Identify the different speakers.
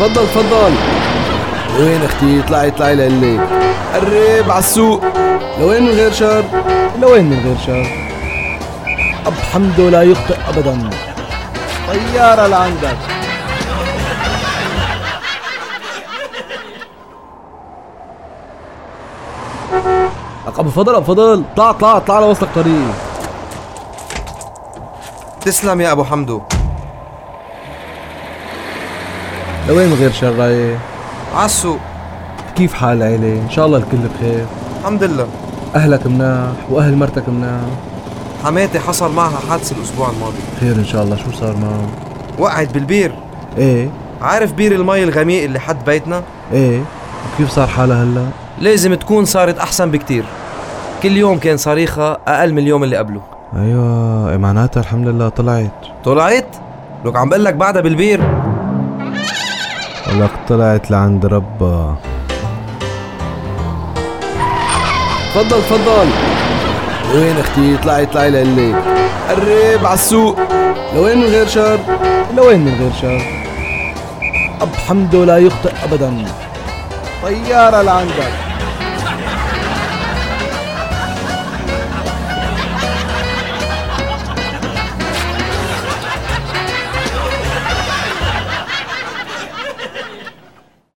Speaker 1: تفضل تفضل وين اختي طلعي طلعي لقلي قرب على السوق لوين من غير شر
Speaker 2: لوين من غير شر أب حمده لا يخطئ أبدا
Speaker 1: طيارة لعندك
Speaker 2: لك أبو فضل أبو فضل طلع طلع طلع لوصلك طريق
Speaker 3: تسلم يا ابو حمدو
Speaker 2: لوين من غير شر رايح
Speaker 3: عالسوق
Speaker 2: كيف حال العيلة إن شاء الله الكل بخير
Speaker 3: الحمد لله
Speaker 2: أهلك مناح وأهل مرتك مناح
Speaker 3: حماتي حصل معها حادثة الأسبوع الماضي
Speaker 2: خير إن شاء الله شو صار معه
Speaker 3: وقعت بالبير
Speaker 2: إيه
Speaker 3: عارف بير المي الغميق اللي حد بيتنا
Speaker 2: إيه وكيف صار حالها هلا
Speaker 3: لازم تكون صارت أحسن بكتير كل يوم كان صريخة أقل من اليوم اللي قبله
Speaker 2: أيوة،
Speaker 4: ايوه إيه معناتها الحمد لله طلعت
Speaker 3: طلعت لك عم بقول لك بعدها بالبير
Speaker 4: ولك طلعت لعند ربها
Speaker 1: تفضل تفضل وين اختي طلعي طلعي لقلي قرب على السوق لوين من غير شر
Speaker 2: لوين من غير شر أب حمده لا يخطئ أبدا
Speaker 1: طيارة لعندك